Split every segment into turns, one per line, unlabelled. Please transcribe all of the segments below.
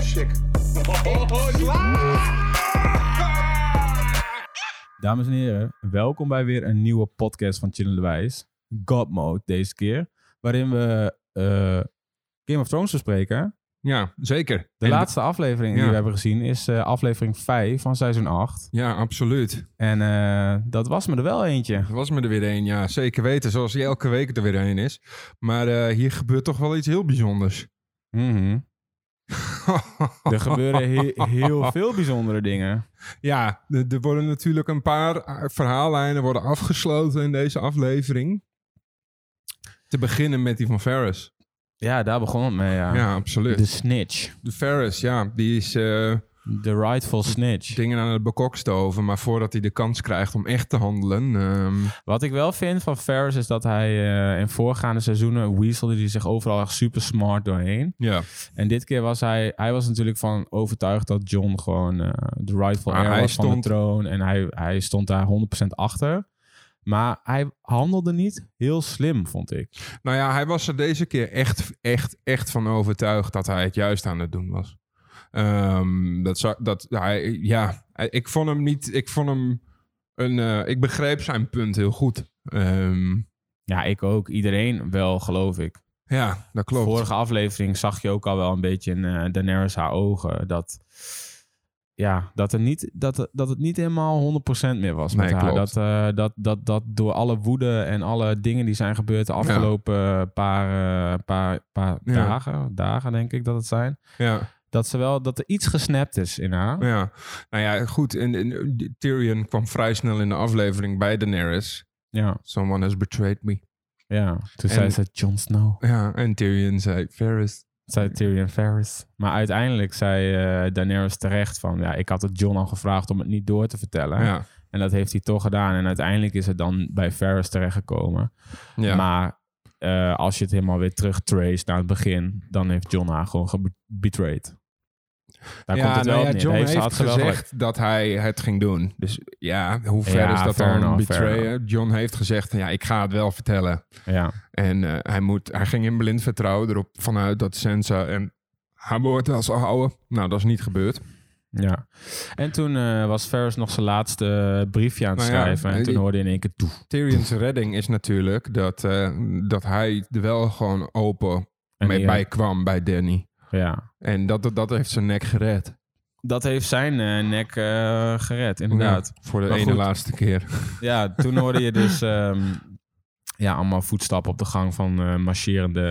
chick.
Dames en heren, welkom bij weer een nieuwe podcast van Chillende Wijs. God Mode deze keer. Waarin we eh, Game of Thrones bespreken.
Ja, zeker.
De
En-
laatste aflevering die
Ja.
we hebben gezien is eh, aflevering 5 van seizoen 8.
Ja, absoluut.
En eh, dat was me er wel eentje.
Er was me er weer een, ja. Zeker weten, zoals die elke week er weer een is. Maar eh, hier gebeurt toch wel iets heel bijzonders.
Mhm. Er gebeuren he- heel veel bijzondere dingen.
ja, er er worden natuurlijk een paar eh, verhaallijnen worden afgesloten in deze aflevering. Te beginnen met die van Ferris.
Ja, daar begon het mee, ja.
Ja, absoluut.
De
De,
snitch.
Ferris, ja, die is eh,
De rightful snitch.
dingen aan het bekokstoven. Maar voordat hij de kans krijgt om echt te handelen... ehm,
Wat ik wel vind van Ferris is dat hij eh, in voorgaande seizoenen weaselde hij zich overal echt super smart doorheen.
ja,
En dit keer was hij, hij was natuurlijk van overtuigd dat John gewoon eh, de rightful
Maar
heir
hij
was van
stond-
de troon. En hij, hij stond daar 100% achter. Maar hij handelde niet heel slim, vond ik.
Nou ja, hij was er deze keer echt, echt, echt van overtuigd dat hij het juist aan het doen was. Ehm, dat, zou- dat hij, ja, hij- ik vond hem niet, ik vond hem een, eh, ik begreep zijn punt heel goed. Ehm,
Ja, ik ook. Iedereen wel, geloof ik.
ja, dat klopt.
Vorige aflevering zag je ook al wel een beetje in eh, Daenerys haar ogen. Dat, ja, dat, er niet, dat, dat het niet helemaal 100% meer was met
Nee,
haar.
klopt.
Dat, eh, dat, dat, dat door alle woede en alle dingen die zijn gebeurd de afgelopen paar, eh, paar, paar
Ja.
dagen, dagen denk ik dat het zijn.
Ja,
Dat, ze wel, dat er iets gesnapt is in haar.
ja. Nou ja, goed. En, en Tyrion kwam vrij snel in de aflevering bij Daenerys.
Ja,
Someone has betrayed me.
ja. Toen
En-
zei ze Jon Snow.
Ja, en Tyrion zei, Ferris.
zei Tyrion Ferris. Maar uiteindelijk zei eh, Daenerys terecht van... ja, ik had het Jon al gevraagd om het niet door te vertellen.
Ja,
En dat heeft hij toch gedaan. En uiteindelijk is het dan bij Ferris terechtgekomen.
ja.
Maar eh, als je het helemaal weer terugtrace naar het begin, dan heeft John haar gewoon gebetrayed. Daar komt het wel
nou
op neer.
John
Daar
heeft,
ze- had ze wel gelijk.
gezegd dat hij het ging doen. Dus ja, hoe ver
Ja,
is dat
fair
dan
enough, fair
betrayen? John heeft gezegd, van, ja, ik ga het wel vertellen.
Ja,
En eh, hij, moet, hij ging in blind vertrouwen erop vanuit dat Sansa en haar woord wel zou houden. Nou, dat is niet gebeurd.
ja. En toen eh, was Ferris nog zijn laatste eh, briefje aan het
Nou ja,
schrijven. en
eh,
toen
die-
hoorde je in één keer toe.
Tyrion's redding is natuurlijk dat, eh, dat hij er wel gewoon open
En
mee
die- eh,
bij kwam bij Danny.
Ja.
En dat, dat, dat heeft zijn nek gered.
Dat heeft zijn eh, nek eh, gered, inderdaad.
Ja, voor de
Maar
ene
goed.
laatste keer.
Ja, toen hoorde je dus ehm, ja, allemaal voetstappen op de gang van eh, marcherende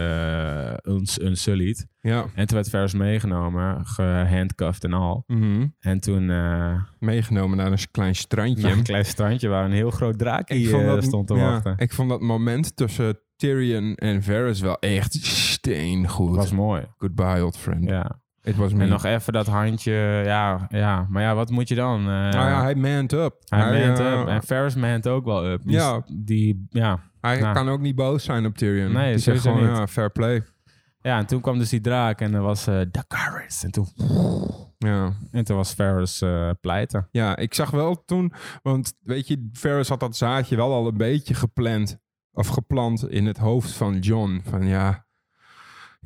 eh, uns, Unsullied.
Ja.
En toen werd Ferris meegenomen, gehandcuffed en al.
Mhm.
En toen
Nou.
eh,
Meegenomen naar een klein strandje.
naar een klein strandje waar een heel groot draakje eh, stond te
ja,
wachten.
Ik vond dat moment tussen Tyrion en Varys wel echt steengoed.
Dat was mooi,
Goodbye, old friend.
ja.
It was me.
En nog even dat handje, ja, ja. Maar ja, wat moet je dan? Eh,
Nou ja, hij manned up.
hij mant
eh,
up. En Ferris mant ook wel up. Die,
Ja.
Die, ja.
hij
Ja.
kan ook niet boos zijn op Tyrion.
nou. Nee,
Die zegt
sowieso
gewoon,
niet.
ja, fair play.
ja, en toen kwam dus die draak en er was eh Dakaris. En toen,
Ja.
en toen was Ferris eh, pleiten.
ja, ik zag wel toen... Want weet je, Varys had dat zaadje wel al een beetje gepland... of geplant in het hoofd van John. Van ja,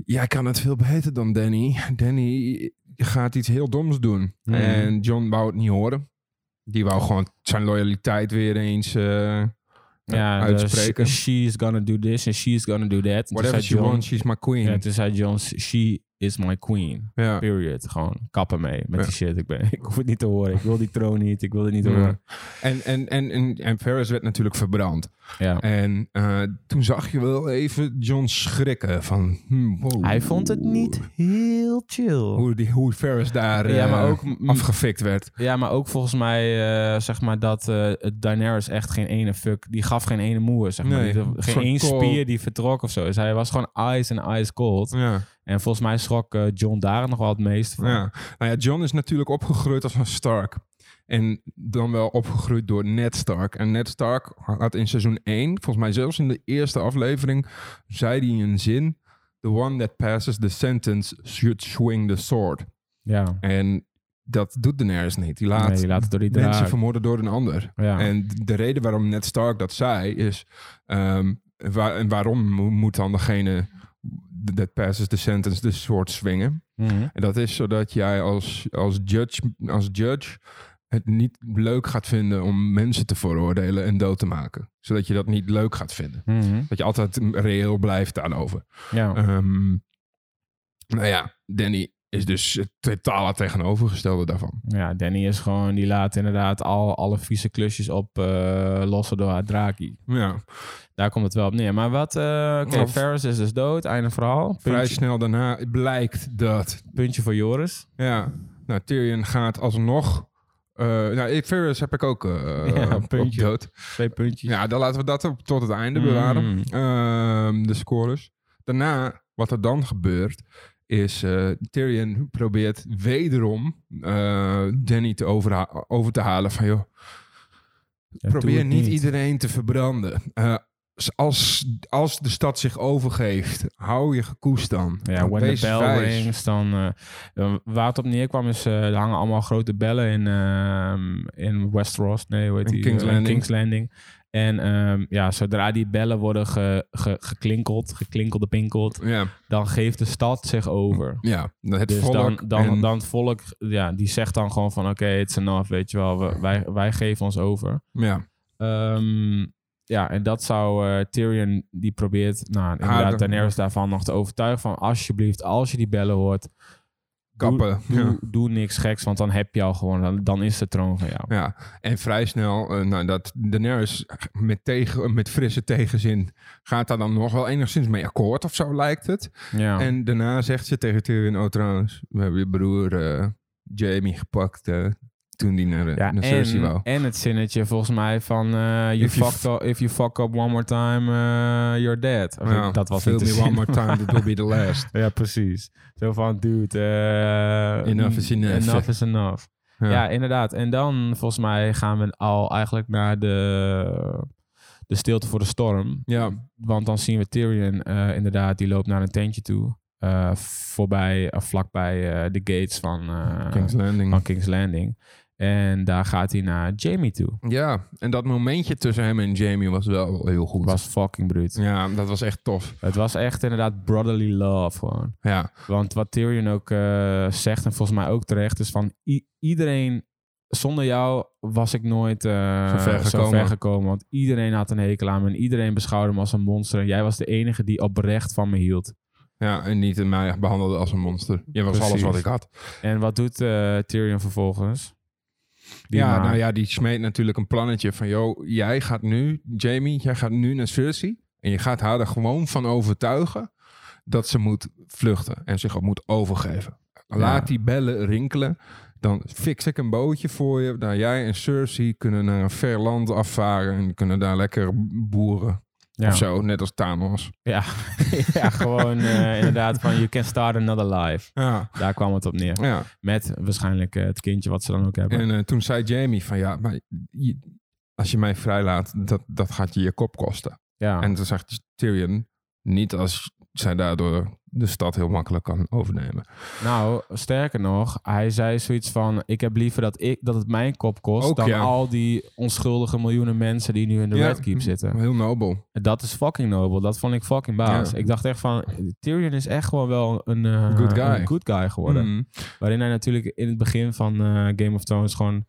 jij kan het veel beter dan Danny. Danny gaat iets heel doms doen.
Mhm.
En John wou het niet horen. Die wou gewoon zijn loyaliteit weer eens eh,
Ja, dus
uitspreken.
she's gonna do this and she's gonna do that. En toen
Whatever
zei
she
John-
wants, she's my queen.
Ja, toen zei John, she is my queen.
ja.
Period. Gewoon kappen mee met
Ja.
die shit. Ik, ben, ik hoef het niet te horen. Ik wil die troon niet. Ik wil het niet
Ja.
horen.
En, en, en, en, en Ferris werd natuurlijk verbrand.
Ja.
En eh, toen zag je wel even John schrikken van... hmm, wow.
Hij vond het niet heel chill.
Hoe, die, hoe Ferris daar
Ja,
eh,
maar ook m-
afgefikt werd.
Ja, maar ook volgens mij, eh, zeg maar, dat eh Daenerys echt geen ene fuck... Die gaf geen ene moer, zeg maar.
Nee,
Die-
een
geen
soort
één
cold.
spier die vertrok of zo. Dus hij was gewoon ice en ice cold.
Ja.
En volgens mij schrok eh, John daar nog wel het meest van.
Ja. Nou ja, John is natuurlijk opgegroeid als een Stark. En dan wel opgegroeid door Ned Stark. En Ned Stark had in seizoen 1, volgens mij zelfs in de eerste aflevering, zei hij een zin. The one that passes the sentence should swing the sword.
Ja.
En dat doet Daenerys niet. Die laat,
nee, die laat het door die
mensen
draak.
vermoorden door een ander.
Ja.
En de reden waarom Ned Stark dat zei is... ehm, waar, en waarom mo- moet dan degene that passes the sentence, de soort swingen.
Mhm.
En dat is zodat jij als, als, judge, als judge het niet leuk gaat vinden om mensen te veroordelen en dood te maken. Zodat je dat niet leuk gaat vinden.
Mhm.
Dat je altijd reëel blijft daarover.
Ja.
Ehm, nou ja, Danny is dus het totale tegenovergestelde daarvan.
ja, Danny is gewoon, die laat inderdaad al, alle vieze klusjes op eh, lossen door haar Draki.
Ja,
Daar komt het wel op neer. Maar wat, eh oké,
Of-
Ferris is dus dood, einde verhaal. Puntje,
vrij snel daarna blijkt dat.
puntje voor Joris.
Ja, nou, Tyrion gaat alsnog. eh nou, ik- Varys heb ik ook eh
Ja,
op-
puntje.
op dood.
Twee puntjes.
Ja, dan laten we dat op, tot het einde
Mm.
bewaren. Ehm, de scores. Daarna, wat er dan gebeurt, is eh, Tyrion probeert wederom eh Danny te overha- over te halen van joh,
Ja, doe
Probeer
het
niet, iedereen te verbranden. Eh, als, als de stad zich overgeeft, hou je gekoest dan.
Ja, when
Wees
the bell
wijs.
rings, dan... eh, eh, waar het op neerkwam is, eh, er hangen allemaal grote bellen in, ehm, in Westeros. Nee, hoe heet
In
die?
King's
Eh,
Landing.
King's Landing. En ehm, ja, zodra die bellen worden ge, ge- geklinkeld, geklinkelde pinkeld,
Ja,
dan geeft de stad zich over.
ja, het
Dus
volk.
dan, dan,
en-
dan het volk, ja, die zegt dan gewoon van... Oké, het it's enough, weet je wel. we- wij, wij geven ons over.
ja,
Ehm, ja, en dat zou eh, Tyrion, die probeert, nou, inderdaad,
de-
Daenerys daarvan nog te overtuigen van, alsjeblieft, als je die bellen hoort,
kappen.
doe,
Ja.
doe niks geks, want dan heb je al gewoon, dan, dan is de troon van jou.
Ja, en vrij snel, eh, nou, dat Daenerys met, tegen, eh, met frisse tegenzin gaat daar dan nog wel enigszins mee akkoord of zo lijkt het.
Ja,
En daarna zegt ze tegen Tyrion, oh trouwens, we hebben je broer eh, Jamie gepakt eh, toen die naar,
ja
naar Cersei wou.
en, en het zinnetje volgens mij van, eh, you
If you
fucked up, if you fuck up one more time, eh, you're dead. Of
Ja,
ik- dat was
Fill
niet te
me one
zien.
more time, that will be the last.
Ja, precies. Zo van, dude, eh,
Enough is enough.
Enough is enough. Ja. inderdaad. En dan volgens mij gaan we al eigenlijk naar de, de stilte voor de storm.
ja.
Want dan zien we Tyrion eh, inderdaad, die loopt naar een tentje toe. eh, voorbij, of vlakbij eh, de gates van, eh,
King's Landing.
van King's Landing. En daar gaat hij naar Jamie toe.
Ja, en dat momentje tussen hem en Jamie was wel heel goed.
Was fucking bruut.
Ja, dat was echt tof.
Het was echt inderdaad brotherly love gewoon.
Ja,
Want wat Tyrion ook eh, zegt, en volgens mij ook terecht, is van i- iedereen. Zonder jou was ik nooit eh,
Zo
zo,
ver
ver
gekomen.
gekomen. Want iedereen had een hekel aan me en iedereen beschouwde me als een monster. En jij was de enige die oprecht van me hield.
ja en niet in mij behandelde als een monster. Je was
Precies.
alles wat ik had.
En wat doet eh, Tyrion vervolgens? Die
ja,
maakt-
nou ja, die smeet natuurlijk een plannetje van... joh, jij gaat nu, Jamie, jij gaat nu naar Cersei... en je gaat haar er gewoon van overtuigen... dat ze moet vluchten en zich ook moet overgeven. Laat
Ja.
die bellen rinkelen... Dan fix ik een bootje voor je. Nou, jij en Cersei kunnen naar een ver land afvaren en kunnen daar lekker boeren.
ja.
Of zo, net als Thanos.
Ja. ja, gewoon eh, inderdaad van you can start another life.
Ja,
Daar kwam het op neer.
ja.
Met waarschijnlijk eh, het kindje wat ze dan ook hebben.
en eh, toen zei Jamie van ja, maar je- als je mij vrijlaat, dat, dat gaat je je kop kosten.
ja.
En toen zegt Tyrion, niet als zij daardoor de stad heel makkelijk kan overnemen.
Nou, sterker nog, hij zei zoiets van: Ik heb liever dat, ik, dat het mijn kop kost.
Ook,
dan
ja.
al die onschuldige miljoenen mensen die nu in de
Ja. Mm-hmm.
Red Keep zitten.
Heel nobel.
Dat is fucking nobel. Dat vond ik fucking baas.
Ja.
Ik dacht echt van: Tyrion is echt gewoon wel een, eh,
Good guy.
een good guy geworden.
Mm.
Waarin hij natuurlijk in het begin van eh, Game of Thrones gewoon.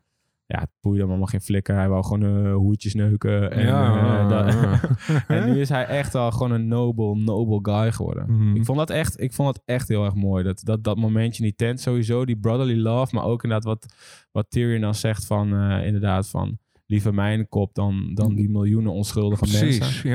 Ja, het boeide hem allemaal geen flikker. Hij wou gewoon eh hoertjes neuken. En,
ja,
eh, dat-
ja.
en nu is hij echt al gewoon een nobel, nobel guy geworden.
Mhm.
Ik vond dat echt, ik vond dat echt heel erg mooi. Dat, dat, dat momentje in die tent sowieso, die brotherly love. Maar ook inderdaad wat, wat Tyrion dan zegt van, eh, inderdaad van... Liever mijn kop dan, dan die miljoenen onschuldige mensen.
Precies, ja.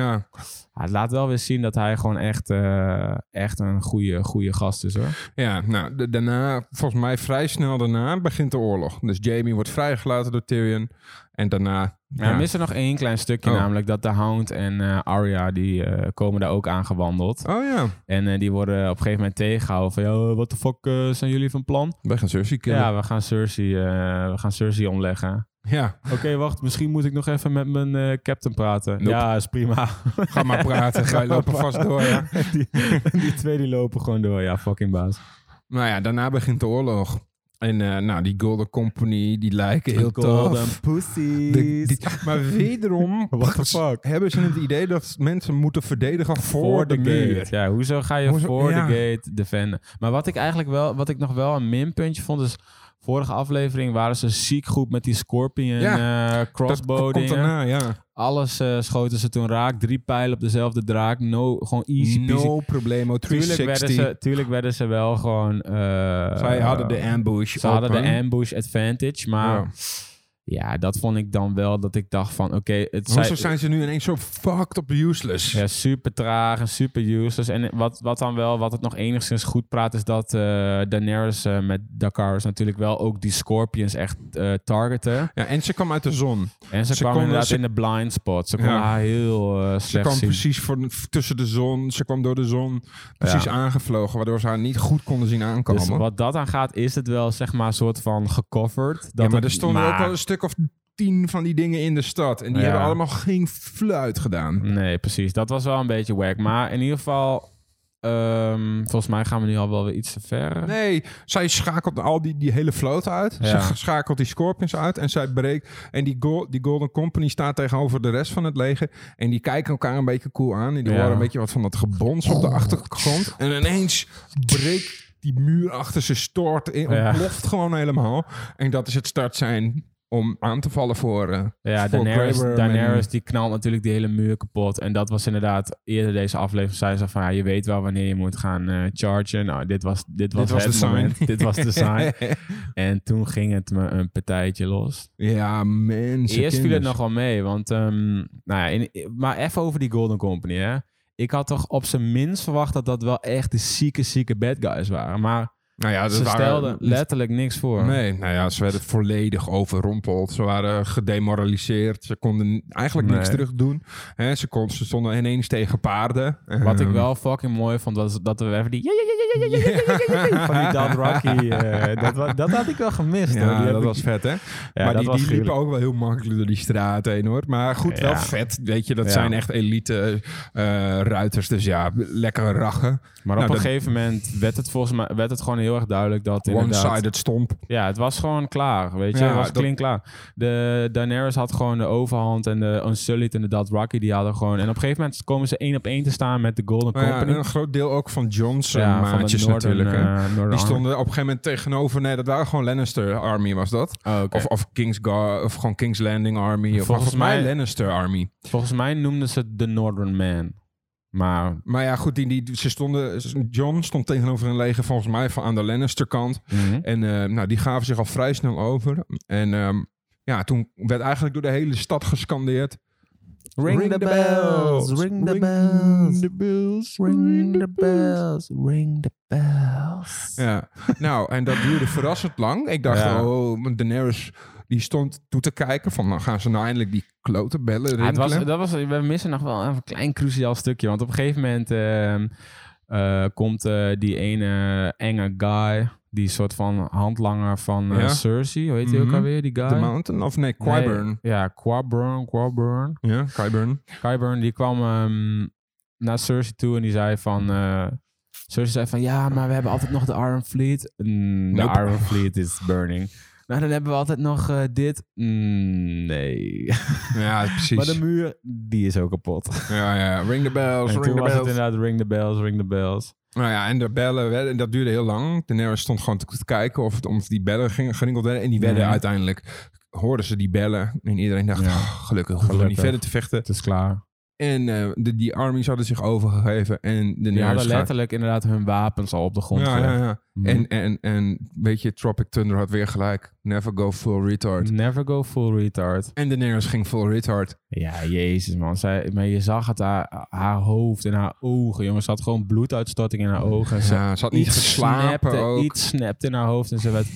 Ja, het laat wel weer zien dat hij gewoon echt, eh, echt een goede, goede gast is hoor.
Ja, nou, da- daarna, volgens mij vrij snel daarna, begint de oorlog. Dus Jamie wordt vrijgelaten door Tyrion. En daarna...
Maar we missen nog één klein stukje
Oh.
namelijk dat de Hound en eh, Arya die eh, komen daar ook aangewandeld.
Oh ja,
En eh, die worden op een gegeven moment tegengehouden van... "Yo, Wat de fuck eh, zijn jullie van plan?
wij gaan Cersei killen.
Ja, we gaan Cersei, eh, we gaan Cersei omleggen.
ja,
Oké, wacht. Misschien moet ik nog even met mijn eh, captain praten.
Nope.
Ja, is prima.
ga maar praten. Ga je lopen vast door, ja.
die, die twee die lopen gewoon door. Ja, fucking baas.
Nou ja, daarna begint de oorlog. En eh, nou, die Golden Company, die lijken heel
Golden
tof.
pussies.
De- die- maar wederom
What the fuck?
hebben ze het idee dat mensen moeten verdedigen voor, de, muur.
Ja, hoezo ga je
Hoezo-
voor
ja.
de gate defenden? Maar wat ik eigenlijk wel, wat ik nog wel een minpuntje vond, is vorige aflevering waren ze ziek goed met die Scorpion eh
Dat
crossbow
komt
dingen.
daarna, ja.
Alles eh, schoten ze toen raak. Drie pijlen op dezelfde draak. No, gewoon easy peasy.
No problemo,
Tuurlijk werden,
360.
ze, tuurlijk werden ze wel gewoon... eh,
Zij hadden de ambush
Ze hadden
open.
de ambush advantage, maar...
Ja.
Ja. dat vond ik dan wel dat ik dacht van... Oké, het
Hoezo
zijn...
zijn ze nu ineens zo fucked up useless?
Ja, super traag en super useless. En wat, wat dan wel, wat het nog enigszins goed praat, is dat eh, Daenerys eh, met Dakaris natuurlijk wel ook die Scorpions echt eh, targeten.
Ja, en ze kwam uit de zon.
En ze,
Ze
kwam
kon-
inderdaad
ze-
in de blind spot. Ze kon
Ja.
haar heel eh
Ze
slecht
kwam
zien.
precies voor, tussen de zon. Ze kwam door de zon precies
Ja.
aangevlogen, waardoor ze haar niet goed konden zien aankomen.
Dus wat dat aan gaat, is het wel zeg maar een soort van gecoverd. Dat
ja, maar
het-
er stonden ook
maar-
al een stuk of tien van die dingen in de stad. En die
Ja.
hebben allemaal geen fluit gedaan.
Nee, precies. Dat was wel een beetje wack. Maar in ieder geval, ehm, volgens mij gaan we nu al wel weer iets te ver.
Nee, zij schakelt al die, die hele vloot uit.
Ja.
Ze schakelt die Scorpions uit en zij breekt. En die, Gol- die Golden Company staat tegenover de rest van het leger. En die kijken elkaar een beetje cool aan. En die
Ja. Oh.
horen een beetje wat van dat gebons op de achtergrond. En ineens breekt die muur achter ze stort in.
Ja.
Ontploft gewoon helemaal. En dat is het start zijn om aan te vallen voor... eh,
Ja,
voor
Daenerys,
Greyworm
Daenerys
en-
die knalt natuurlijk die hele muur kapot. En dat was inderdaad eerder deze aflevering. Zij zei van, ja, je weet wel wanneer je moet gaan eh, chargen. Nou, dit was, dit was,
was
het
de sign.
moment. dit was de sign. En toen ging het me een partijtje los.
ja, mensen.
Eerst viel het
kinders.
nog wel mee, want... ehm, nou ja, in- maar even over die Golden Company, hè. Ik had toch op zijn minst verwacht dat dat wel echt de zieke, zieke bad guys waren. Maar
Nou ja, dat
ze
waren-
stelden letterlijk niks voor.
Nee, nou ja, ze werden volledig overrompeld. Ze waren gedemoraliseerd. Ze konden eigenlijk niks
Nee.
terug doen. Hè, ze, kon, ze stonden ineens tegen paarden.
Wat ik
Ehm,
wel fucking mooi vond, was dat we even die... van die Dad Rocky. eh, dat, wa- dat had ik wel gemist. hoor.
Ja,
Die heb
dat
ik-
was vet, hè?
Ja,
maar
dat
die,
was
die liepen
gruwelijk.
ook wel heel makkelijk door die straat heen, hoor. Maar goed, wel
Ja.
vet. Weet je, dat
Ja.
zijn echt elite eh, ruiters. Dus ja, lekker rachen.
Maar
Nou,
op een
dat-
gegeven moment werd het volgens mij werd het gewoon heel erg duidelijk dat inderdaad...
One-sided stomp.
Ja, het was gewoon klaar, weet je.
Ja,
het was
dat-
klink klaar. De Daenerys had gewoon de overhand en de Unsullied en de Dad Rocky, die hadden gewoon... En op een gegeven moment komen ze één op één te staan met de Golden
Maar Oh ja,
Company.
een groot deel ook van Johnson
Ja, van de
maatjes
Northern,
natuurlijk. hè.
eh, Northern
die
Army.
stonden op een gegeven moment tegenover... Nee, dat waren gewoon Lannister Army, was dat?
Oh, oké.
Of, of, King's Guard, of gewoon King's Landing Army. Of,
Volgens
volgens mij
mij-
Lannister Army.
Volgens mij noemden ze het de Northern Man. Maar
Maar ja, goed, die, die, ze stonden, John stond tegenover een leger volgens mij van aan de Lannister kant. En eh, nou, die gaven zich al vrij snel over. En ehm, ja, toen werd eigenlijk door de hele stad gescandeerd.
Ring, the bells, ring the bells,
the bells,
ring the bells, ring the bells.
Ja, nou, en dat duurde verrassend lang. Ik dacht,
Ja.
oh, Daenerys, die stond toe te kijken van, nou gaan ze nou eindelijk die klote bellen
Ja, het was,
rinkelen?
dat was, we missen nog wel een klein cruciaal stukje. Want op een gegeven moment ehm, eh, komt eh, die ene enge guy, die soort van handlanger van eh,
Ja.
Cersei, hoe heet die
Mhm.
ook alweer, die guy?
The Mountain? Of nee,
Nee,
Qyburn.
ja, Quaburn, Quaburn.
Ja, Qyburn.
Qyburn, die kwam ehm, naar Cersei toe en die zei van... eh, Cersei zei van, ja, maar we hebben altijd nog de Iron Fleet. Mm,
Nope.
De Iron Fleet is burning. Nou, dan hebben we altijd nog eh, dit. Mm, nee.
Ja, precies.
Maar de muur, die is ook kapot.
Ja, ja, ring the bells,
en toen
ring the
was het
bells.
inderdaad ring the bells, ring the bells.
Nou ja, en de bellen, werden- en dat duurde heel lang. Daenerys stond gewoon te, te kijken of, het, of die bellen gingen, gerinkeld werden. En die werden
Mhm.
uiteindelijk, hoorden ze die bellen. En iedereen dacht,
Ja.
"Oh, gelukkig, we hoeven niet
Gelukkig.
verder te vechten.
Het is klaar.
En eh, de, die armies hadden zich overgegeven. En
Die
Daenerys
hadden
gaat...
letterlijk inderdaad hun wapens al op de grond
Ja, ja,
gelegd.
ja.
Mhm.
En, en, en weet je, Tropic Thunder had weer gelijk. Never go full retard.
Never go full retard.
En Daenerys ging full retard.
Ja, jezus man. Zij, maar je zag het haar, haar hoofd en haar ogen. Jongens, ze had gewoon bloeduitstorting in haar ogen. En ze
Ja, ze had niet geslapen
snapte,
ook.
Iets snapte in haar hoofd en ze werd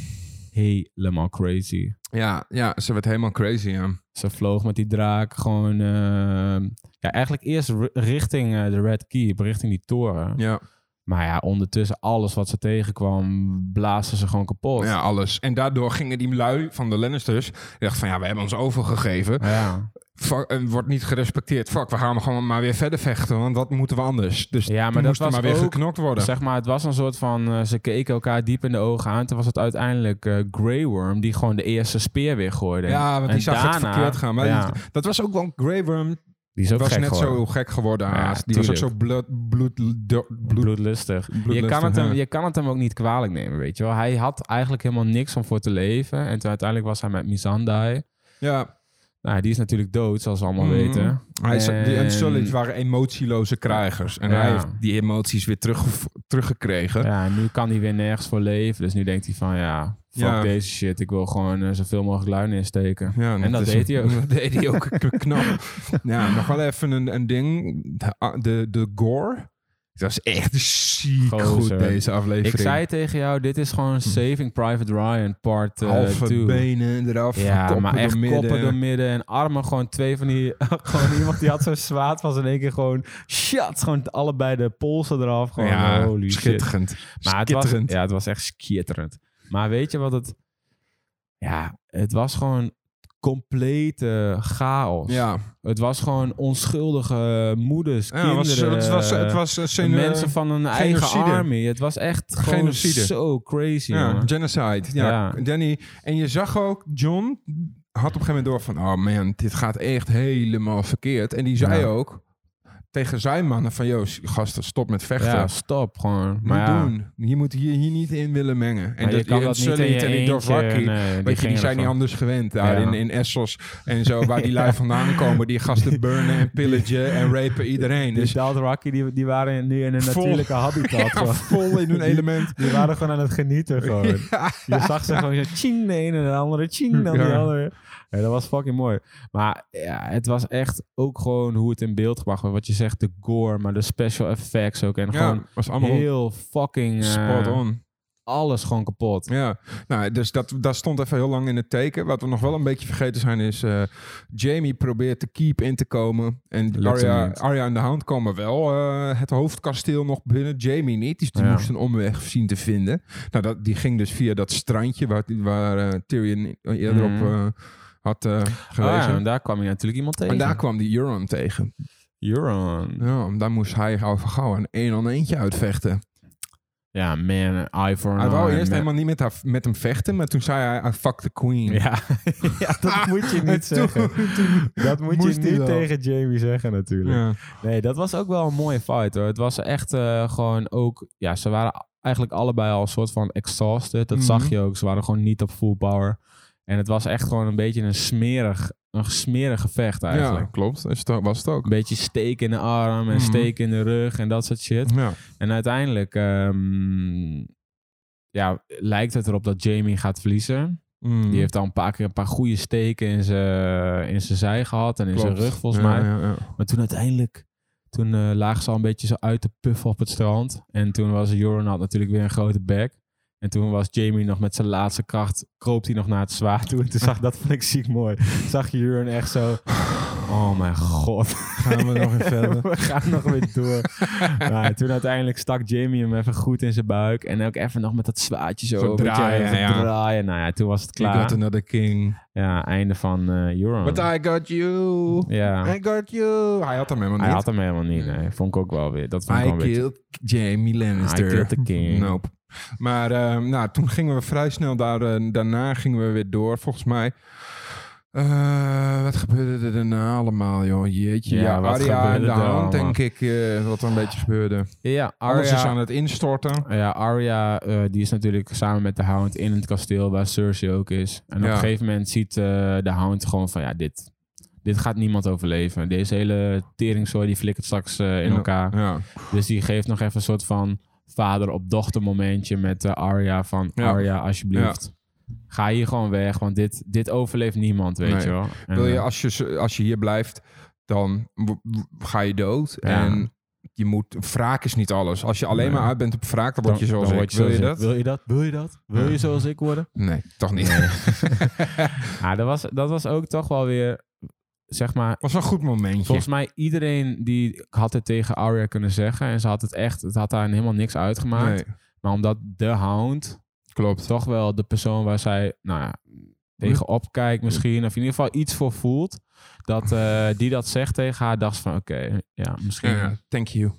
helemaal crazy.
Ja, ja, ze werd helemaal crazy, ja.
Ze vloog met die draak gewoon... ehm, ja, eigenlijk eerst ri- richting eh, de Red Keep, richting die toren.
Ja.
Maar ja, ondertussen alles wat ze tegenkwam, blazen ze gewoon kapot.
Ja, alles. En daardoor gingen die lui van de Lannisters. Die dachten van ja, we hebben ons overgegeven.
Ja.
Fuck, en wordt niet gerespecteerd. Fuck, we gaan gewoon maar weer verder vechten, want wat moeten we anders? Dus
Ja,
toen
maar dat
moest er
was
maar weer
ook-
geknokt worden.
Dus Zeg maar, het was een soort van, eh, ze keken elkaar diep in de ogen aan. Toen was het uiteindelijk eh, Grey Worm die gewoon de eerste speer weer gooide.
ja, want die
En
zag het
daarna-
verkeerd gaan. Maar
ja,
die- dat was ook wel Grey Worm.
die is ook
was
gek
net
geworden.
zo gek geworden.
Ja,
haast. die was ook zo
tuurlijk.
bloed, bloed, do- bloed,
bloedlustig. Je
bloedlustig,
kan, het hem,
ja.
je kan het hem ook niet kwalijk nemen, weet je wel. Hij had eigenlijk helemaal niks om voor te leven. En toen uiteindelijk was hij met Mizandai.
Ja,
Nou, die is natuurlijk dood, zoals we allemaal
Mhm.
weten.
hij, is- die en
En-
Sullich waren emotieloze krijgers. En
Ja.
hij heeft die emoties weer terug, teruggekregen.
Ja, en nu kan hij weer nergens voor leven. Dus nu denkt hij van, ja, fuck
Ja.
deze shit. Ik wil gewoon eh, zoveel mogelijk luin insteken.
Ja,
En dat
is-
deed hij ook.
Dat deed hij ook k- knap. ja, nog wel even een, een ding. De, ah, de, de gore. Dat was echt ziek
Gozer.
goed, deze aflevering.
Ik zei tegen jou, dit is gewoon Saving Private Ryan part 2.
Hm. Halve benen eraf,
eh, ja,
koppen
maar echt
door midden.
koppen door midden en armen gewoon twee van die... gewoon iemand die had zo'n zwaard was in één keer gewoon... Shit, gewoon allebei de polsen eraf. Gewoon,
ja,
holy shit.
schitterend.
Maar het was,
schitterend.
ja, het was echt schitterend. Maar weet je wat het... Ja, het was gewoon complete chaos.
ja.
Het was gewoon onschuldige moeders,
Ja, het was-
kinderen,
het was, het was, eh, genu-
mensen van een eigen
genocide.
army. Het was echt gewoon
Genocide.
zo crazy,
ja, dus
jongen.
genocide. Ja,
Ja.
Danny. En je zag ook, John had op een gegeven moment door van, oh man, dit gaat echt helemaal verkeerd. En die zei
Ja.
ook tegen zijn mannen van, joh, gasten, stop met vechten.
Ja, stop gewoon.
Niet
Maar ja,
eh, doen. Je moet hier, hier niet in willen mengen.
maar je kan dat niet in je
en die
eentje.
Dothraki,
Nee, die
Weet je, die
gingen
zijn niet
ervan.
anders gewend daar
Ja.
in, in Essos en zo, waar die lui vandaan komen. Die gasten burnen en pillagen en rapen iedereen.
Die
Dus
Dothraki, die, die waren nu in een
Vol-
natuurlijke habitat.
ja,
gewoon.
vol in hun
Die-
element.
Die waren gewoon aan het genieten gewoon. Je zag ze gewoon zo ching de ene en de andere, ching dan die
Ja.
andere. Ja, dat was fucking mooi. Maar ja, het was echt ook gewoon hoe het in beeld gebracht werd. Wat je zegt, de gore, maar de special effects ook. En
Ja,
gewoon
was allemaal
heel fucking... eh,
spot on.
Alles gewoon kapot.
Ja, nou, dus dat, dat stond even heel lang in het teken. Wat we nog wel een beetje vergeten zijn is... eh, Jamie probeert de keep in te komen. En
Lukt hem
Arya,
niet.
Arya en de Hound komen wel eh, het hoofdkasteel nog binnen. Jamie niet, dus die
Ja.
moest een omweg zien te vinden. Nou, dat, die ging dus via dat strandje waar, waar eh, Tyrion eerder
Mhm.
op eh, had eh
Ah,
gewezen.
en daar kwam je natuurlijk iemand tegen.
en daar kwam die Euron tegen.
Euron.
Ja, daar moest hij al van gauw een één aan eentje uitvechten.
Ja, man, eye for an
Hij wou
eye,
eerst
man.
helemaal niet met, haar, met hem vechten, maar toen zei hij, I fuck the queen.
Ja, ja dat moet je
En
niet
toen-
zeggen.
toen
Dat moet je
moest hij
niet
wel.
tegen Jamie zeggen natuurlijk. Nee, dat was ook wel een mooie fight hoor. Het was echt eh, gewoon ook... Ja, ze waren eigenlijk allebei al een soort van exhausted. Dat
Mhm.
zag je ook. Ze waren gewoon niet op full power. En het was echt gewoon een beetje een smerig, een smerig gevecht eigenlijk.
Ja, klopt. Is het, was het ook.
Een beetje steek in de arm en
Mhm.
steek in de rug en dat soort shit.
Ja.
En uiteindelijk ehm, ja, lijkt het erop dat Jamie gaat verliezen.
Mm.
Die heeft al een paar keer een paar goede steken in zijn in zijn zij gehad en in zijn
Klopt.
rug volgens
Ja,
mij.
ja, ja.
Maar toen uiteindelijk, toen eh, lagen ze al een beetje zo uit te puffen op het strand. En toen was Joran had natuurlijk weer een grote bek. En toen was Jamie nog met zijn laatste kracht, kroop hij nog naar het zwaard toe. En toen zag, dat vond ik ziek mooi, zag je Joran echt zo, oh mijn god.
Gaan we nog in verder?
We gaan nog weer door. Nou, toen uiteindelijk stak Jamie hem even goed in zijn buik. En ook even nog met dat zwaadje zo,
Zo
weet je,
draaien,
even
ja.
draaien. Nou ja, toen was het
You got
klaar.
another king.
Ja, einde van eh Euron.
But I got you.
ja,
I got you. Hij had hem helemaal
hij
niet.
had hem helemaal niet. Nee, vond ik ook wel weer. Dat vond ik wel
I
een beetje...
killed Jamie Lannister.
I killed the king.
Nope. Maar eh, nou, toen gingen we vrij snel daar, eh, daarna gingen we weer door, volgens mij. Eh, wat gebeurde er daarna allemaal, joh? Jeetje.
Ja,
Ja,
wat
Arya en
gebeurde
de
er
hand,
allemaal?
denk ik, eh, wat er een beetje gebeurde.
Ja,
Alles is aan
Arya,
het instorten.
ja, Arya eh, die is natuurlijk samen met de Hound in het kasteel waar Cersei ook is. En op
Ja.
een gegeven moment ziet eh, de Hound gewoon van ja, dit, dit gaat niemand overleven. Deze hele teringzooi die flikkert straks eh, in
Ja.
elkaar.
Ja.
Dus die geeft nog even een soort van vader op dochter momentje met eh, Arya van
Ja.
Arya alsjeblieft. Ga hier gewoon weg, want dit, dit overleeft niemand, weet
Nee.
je wel. En,
Wil
eh,
je, als, je, z- als je hier blijft, dan w- w- ga je dood.
Ja.
En je moet, wraak is niet alles. Als je alleen
Nee.
maar uit bent op wraak, dan word je zoals
dan
ik.
word
Wil je
zoals
dat?
ik. Wil je dat? Wil je dat? Wil
Ja.
je zoals ik worden?
Nee, toch niet.
Ja, dat was, dat was ook toch wel weer, zeg maar...
was een goed momentje.
Volgens mij iedereen die had het tegen Arya kunnen zeggen. En ze had het echt, het had daar helemaal niks uitgemaakt.
nee,
Maar omdat de Hound
klopt.
toch wel de persoon waar zij nou ja, tegenop kijkt misschien. Of in ieder geval iets voor voelt. Dat eh, die dat zegt tegen haar, dacht ze van oké, ja, misschien. Ja.
Ja, thank you.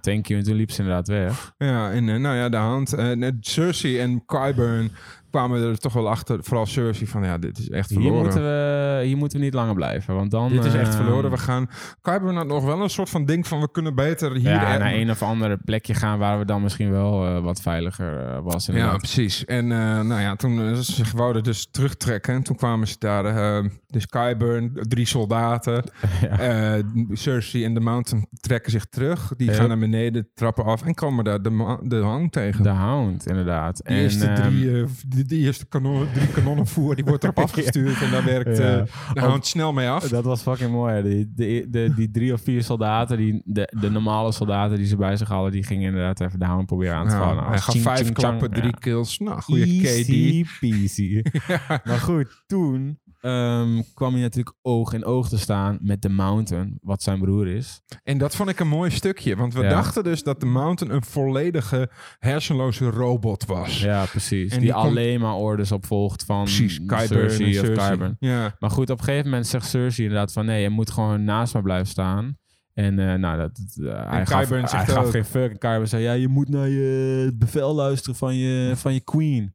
thank you. En toen liep ze inderdaad weg.
Ja, en eh, nou ja, de hand. eh, net Cersei en Qyburn kwamen er toch wel achter. Vooral Cersei van, ja, dit is echt
Hier
verloren.
moeten, we, hier moeten we niet langer blijven, want dan...
Dit is echt
eh,
verloren. We gaan... Qyburn had nog wel een soort van ding van, we kunnen beter hier...
ja,
eh,
naar een of andere plekje gaan waar we dan misschien wel eh, wat veiliger eh, was.
Ja,
inderdaad.
precies. En eh, nou ja, toen eh, ze zich wouden dus terugtrekken. En toen kwamen ze daar, eh, dus Qyburn, drie soldaten,
Ja.
eh, Cersei en de Mountain trekken zich terug. Die
Ja.
gaan naar beneden, trappen af en komen daar de, ma- de hand tegen.
De Hound, inderdaad.
De eerste,
ehm,
drie, eh, die, die eerste kanon, drie kanonnen voer, die wordt erop afgestuurd. En daar werkt
Ja.
eh, de hound snel mee af.
Dat was fucking mooi. hè. Die, de, de, die drie of vier soldaten, die, de, de normale soldaten die ze bij zich hadden, die gingen inderdaad even de hound proberen aan te vallen.
Nou, hij gaat vijf klappen, drie kills. Nou, goede KD.
Easy peasy. Maar goed, toen ehm, kwam hij natuurlijk oog in oog te staan met de Mountain, wat zijn broer is.
En dat vond ik een mooi stukje. Want we
Ja.
dachten dus dat de Mountain een volledige hersenloze robot was.
Ja, precies.
En
die
die komt-
alleen maar orders opvolgt van
Precies, Kyber
Cersei
en
of
Cersei.
Qyburn.
Ja.
Maar goed, op een gegeven moment zegt Cersei inderdaad van... nee, je moet gewoon naast me blijven staan. En eh, nou, dat, dat, eh, hij, gaf,
Qyburn
hij
zegt
gaf
ook-
geen fuck. En Qyburn zei, ja, je moet naar je het bevel luisteren van je, van je queen.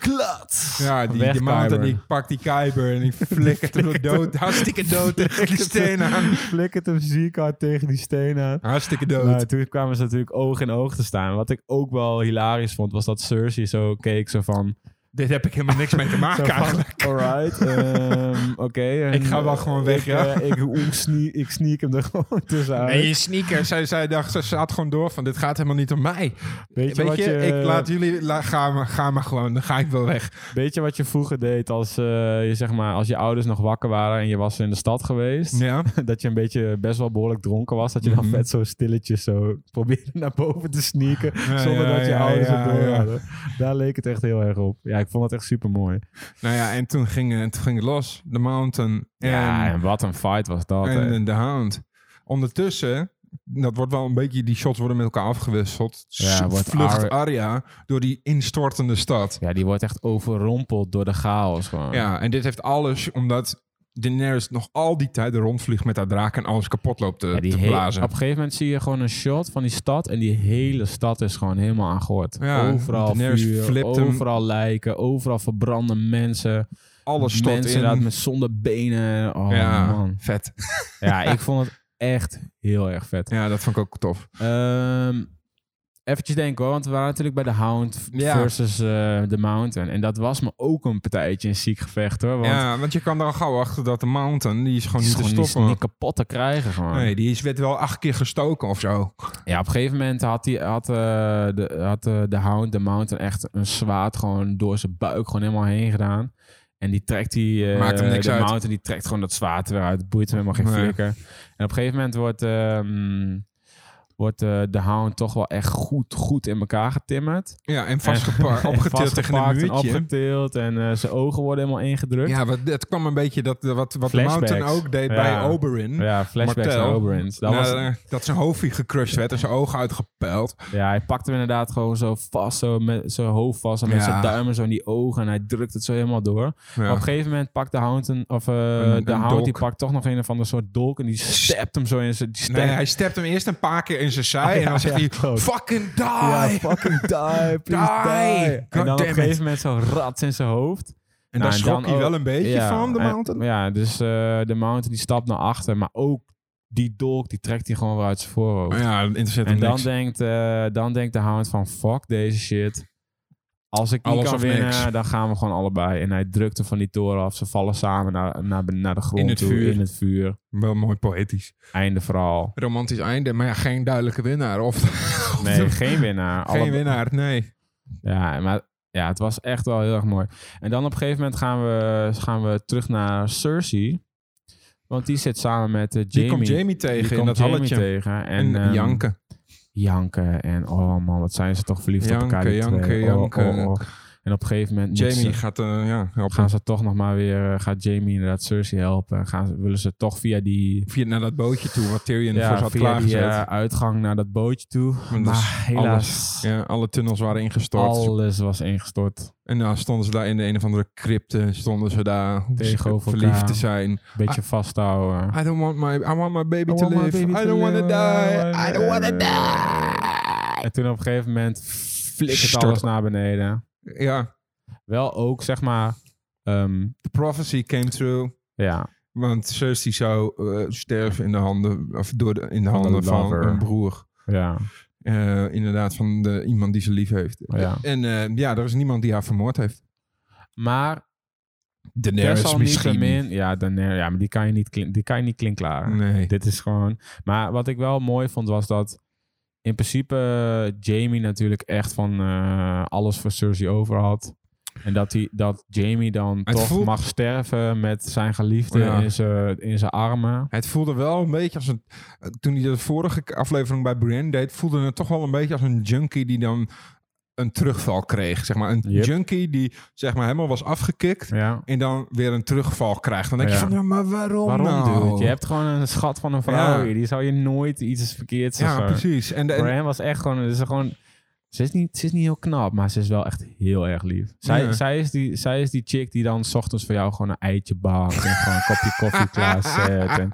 Klat!
Ja, die,
Weg,
die mountain
Qyburn.
die pakt die Kyber en die flikkert hem dood. Hartstikke dood tegen die steen aan.
Flikkert hem ziek hard tegen die steen aan.
Hartstikke
Nou,
dood.
toen kwamen ze natuurlijk oog in oog te staan. Wat ik ook wel hilarisch vond, was dat Cersei zo keek zo van...
Dit heb ik helemaal niks mee te
Zo
maken
van,
eigenlijk.
Alright, ehm, oké. en,
Ik ga wel gewoon weg,
ik,
ja.
eh, ik, ik, sneak, ik sneak hem er gewoon tussenuit.
En eh, je sneaker, zij, zij dacht, ze zat gewoon door van dit gaat helemaal niet om mij. Weet
Weet je,
je,
wat je,
ik laat jullie, la, ga, maar, ga maar gewoon, dan ga ik wel weg.
weet je wat je vroeger deed als, eh, je, zeg maar, als je ouders nog wakker waren en je was in de stad geweest?
Ja,
Dat je een beetje best wel behoorlijk dronken was. Dat je dan
Mhm.
vet zo stilletjes zo probeerde naar boven te sneaken.
Ja,
zonder
ja,
dat je
ja,
ouders
ja,
het door
ja.
hadden. Daar leek het echt heel erg op. Ja, ik vond het echt super mooi.
nou ja, en toen ging, eh, toen ging het los. De Mountain en,
en wat een fight was dat. hè.
en, de Hound. Ondertussen, dat wordt wel een beetje, die shots worden met elkaar afgewisseld.
Ja,
S-
wordt
vlucht
Ar-
Arya door die instortende stad.
Ja, die wordt echt overrompeld door de chaos gewoon.
Ja, en dit heeft alles omdat Daenerys nog al die tijd rondvliegt met haar draak en alles kapot loopt te,
Ja, die
te
he-
blazen.
op een gegeven moment zie je gewoon een shot van die stad. En die hele stad is gewoon helemaal aan gehoord.
Ja,
overal
Daenerys
vuur,
flipt hem.
overal lijken, overal verbrande mensen.
Alles stort
mensen
in.
inderdaad met zonder benen. Oh
ja,
man.
vet.
Ja, ik vond het echt heel erg vet.
Ja, dat vond ik ook tof.
Ehm eventjes denken hoor, want we waren natuurlijk bij de Hound
Ja.
versus eh The Mountain. En dat was me ook een partijtje in ziek gevecht hoor. Want het
ja, want je kan er al gauw achter dat de Mountain, die is gewoon
is
niet te
gewoon niet,
stoppen.
niet kapot te krijgen gewoon.
nee, die is, werd wel acht keer gestoken of zo.
Ja, op een gegeven moment had, die, had, eh, de, had eh, de Hound, de Mountain, echt een zwaard gewoon door zijn buik gewoon helemaal heen gedaan. En die trekt die, eh,
Maakt hem niks
de
uit.
Mountain, die trekt gewoon dat zwaard eruit. Het Boeit hem helemaal geen
Nee.
flikker. En op een gegeven moment wordt, ehm, wordt eh, de Hound toch wel echt goed, goed in elkaar getimmerd.
Ja, en vastgepakt, opgetild tegen een
Vastgepakt en
muurtje.
opgetild en eh, zijn ogen worden helemaal ingedrukt. Ja,
Ja, wat, het kwam een beetje dat, eh, wat, wat de
Flashbacks.
Mountain ook deed bij
Ja.
Oberyn.
flashbacks
Martel.
naar Oberyn's. Dat
Nou,
was,
eh, dat zijn hoofdje gecrushed werd en zijn ogen uitgepeld.
Ja, hij pakt hem inderdaad gewoon zo vast, zo met zijn hoofd vast en met
Ja.
zijn duimen zo in die ogen en hij drukt het zo helemaal door. Maar Op een gegeven moment pakt de hound een, of eh,
Een-
de
een
hound die
dolk.
pakt toch nog een of ander soort dolk en die stept hem zo in zijn. Die
Nee,
stept-
hij stept hem eerst een paar keer in zijn zij
Oh, ja,
en dan zegt
ja,
hij,
klopt.
fucking die!
Ah, ja, fucking die, please die.
Die.
En
God
dan op een
damn
gegeven moment zo rats in zijn hoofd.
En
Nou,
daar
en
schrok
dan
hij
ook-
wel een beetje
Ja,
van, de
en-
mountain.
ja, dus eh, de mountain die stapt naar achter, maar ook die dolk die trekt hij gewoon weer uit zijn voorhoofd.
ja, interesseert
En
hem
dan
niks.
denkt, eh, dan denkt de hound van fuck deze shit. Als ik niet
Alles
kan
of
winnen,
niks.
dan gaan we gewoon allebei. En hij drukt hem van die toren af. Ze vallen samen naar, naar, naar de grond
In het
toe,
vuur.
in het vuur.
Wel mooi poëtisch.
Einde verhaal.
Romantisch einde, maar ja, geen duidelijke winnaar. Of, of
Nee,
geen
geen winnaar. Alle-
winnaar, nee.
Ja, maar ja, het was echt wel heel erg mooi. En dan op een gegeven moment gaan we, gaan we terug naar Cersei. Want die zit samen met eh,
Die
Jamie.
komt Jamie tegen in dat
Jamie
halletje.
tegen.
En,
En, ehm,
janken.
Janken. En oh man, wat zijn ze toch verliefd op
Janken,
elkaar. die
janken,
twee. Oh,
janken.
oh, oh. En op een gegeven moment moet
Jamie
ze-
gaat eh ja, helpen.
gaan ze toch nog maar weer... eh, gaat Jamie inderdaad Cersei helpen? En Gaan ze, willen ze toch via die...
Via naar dat bootje toe, wat Tyrion voor ze
Ja,
had
via die
klaargezet.
eh, uitgang naar dat bootje toe.
Want dat is
Maar helaas,
ja, alle tunnels waren ingestort.
alles was ingestort.
En dan stonden ze daar in de een of andere crypte, stonden ze daar
Tegenover
verliefd
elkaar.
te zijn.
Beetje vasthouden.
Ah. I don't want my, I want my baby to
I want my
live.
baby
I
to
don't want to
live.
die. I don't want to
Eh,
die.
En toen op een gegeven moment flikkert
Stort.
alles naar beneden.
Ja,
Wel ook, zeg maar... ehm,
the prophecy came true.
ja,
Want Cersei zou eh, sterven in de handen, of door de, in de
Van de
handen van
lover.
een broer.
ja,
Eh, inderdaad, van de, iemand die ze lief heeft.
ja.
En eh, ja, er is niemand die haar vermoord heeft.
Maar
Daenerys misschien. Mm.
desalniettemin... Ja, Daenerys, ja, maar die kan je niet, klin- die kan je niet klinkklaren.
Nee.
Dit is gewoon... Maar wat ik wel mooi vond, was dat... In principe eh, Jamie natuurlijk echt van eh, alles voor Cersei over had. En dat, hij, dat Jamie dan
Het
toch
voelt-
mag sterven met zijn geliefde
Ja.
in zijn- in zijn armen.
Het voelde wel een beetje als een... Toen hij de vorige aflevering bij Brienne deed... voelde het toch wel een beetje als een junkie die dan een terugval kreeg. Zeg maar een
Yep.
junkie die zeg maar, helemaal was afgekikt...
Ja.
en dan weer een terugval krijgt. Dan denk je
Ja.
van, ja, maar waarom,
Waarom,
nou?
dude? Je hebt gewoon een schat van een vrouw
Ja.
hier. Die zou je nooit iets verkeerds
ja,
zeggen.
precies. En, de- en-
Brian was echt gewoon... Ze is gewoon ze is, niet, ze is niet heel knap, maar ze is wel echt heel erg lief. Zij,
Ja.
zij, is, die, zij is die chick die dan 's ochtends voor jou gewoon een eitje bakt. En gewoon een kopje koffie klaarzet. En,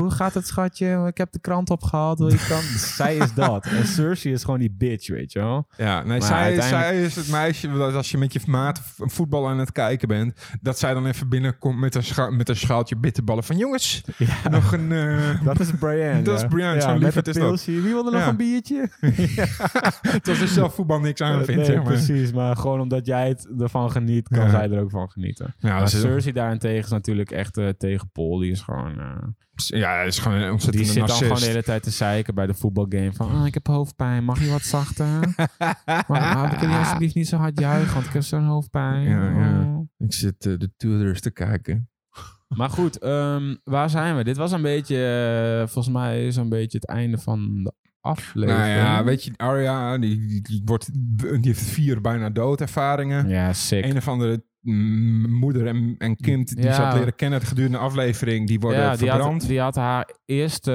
Hoe gaat het, schatje? Ik heb de krant opgehaald. Wil je krant? zij is dat. En Cersei is gewoon die bitch, weet je wel?
ja, nee,
Maar
zij,
uiteindelijk-
zij is het meisje dat als je met je maat v- voetbal aan het kijken bent... dat zij dan even binnenkomt met een, scha- met een schaaltje bitterballen van... jongens,
Ja.
nog een... eh,
Dat is Brian.
Dat is
ja.
Brian,
Ja,
zo'n
met
lieverd
een
is dat.
pilsje. Wie wil er nog
Ja.
een biertje? Eh,
dat is zelf voetbal niks aan vindt,
nee,
zeg maar.
precies. Maar gewoon omdat jij het ervan geniet, kan
Ja.
zij er ook van genieten.
Ja,
maar
dat is-
Cersei daarentegen is natuurlijk echt eh, tegen Paul. Die is gewoon... eh,
Ja, hij is gewoon een
die
ontzettende
zit dan gewoon de
narcist.
hele tijd te zeiken bij de voetbalgame. Van, ah, ik heb hoofdpijn. Mag je wat zachter? maar ah, kun je alsjeblieft niet zo hard juichen, want ik heb zo'n hoofdpijn.
Ja, ja.
Oh.
Ik zit eh, de Tudors te kijken.
Maar goed, ehm, waar zijn we? Dit was een beetje, eh, volgens mij is een beetje het einde van de aflevering.
Nou ja, weet je, Arya, die, die, die wordt, die heeft vier bijna doodervaringen.
Ja, sick.
Een of andere mm, moeder en, en kind die
Ja.
ze had leren kennen gedurende de aflevering, die worden
ja, die
verbrand.
had, die had haar eerste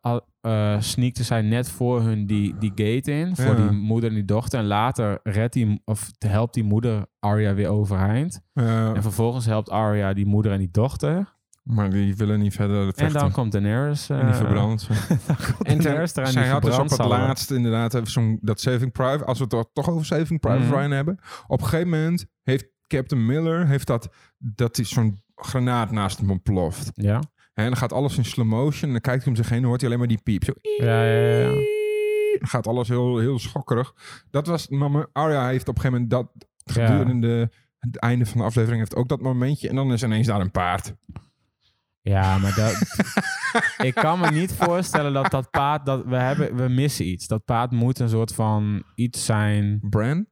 eh, al- eh, sneakte zij net voor hun die, die gate in. Voor
Ja.
die moeder en die dochter. En later redt die, of helpt die moeder Arya weer overeind.
Eh,
En vervolgens helpt Arya die moeder en die dochter.
maar die willen niet verder vechten.
En dan komt Daenerys. eh
En die verbrand.
dan komt
En
Daenerys eraan die
zij had dus op
verbrand
het
zal worden.
laatst inderdaad even zo'n dat Saving Private, als we het toch over Saving Private
Mhm.
Ryan hebben. Op een gegeven moment heeft Captain Miller heeft dat, dat is zo'n granaat naast hem ontploft.
Ja.
En dan gaat alles in slow motion. En dan kijkt hij om zich heen en hoort hij alleen maar die piep. Zo. eh,
Ja, ja, ja, ja.
Dan gaat alles heel, heel schokkerig. Dat was het moment. Arya heeft op een gegeven moment dat gedurende het einde van de aflevering heeft ook dat momentje. En dan is ineens daar een paard.
Ja, maar dat... ik kan me niet voorstellen dat dat paard... Dat we, hebben, we missen iets. Dat paard moet een soort van iets zijn...
Bran?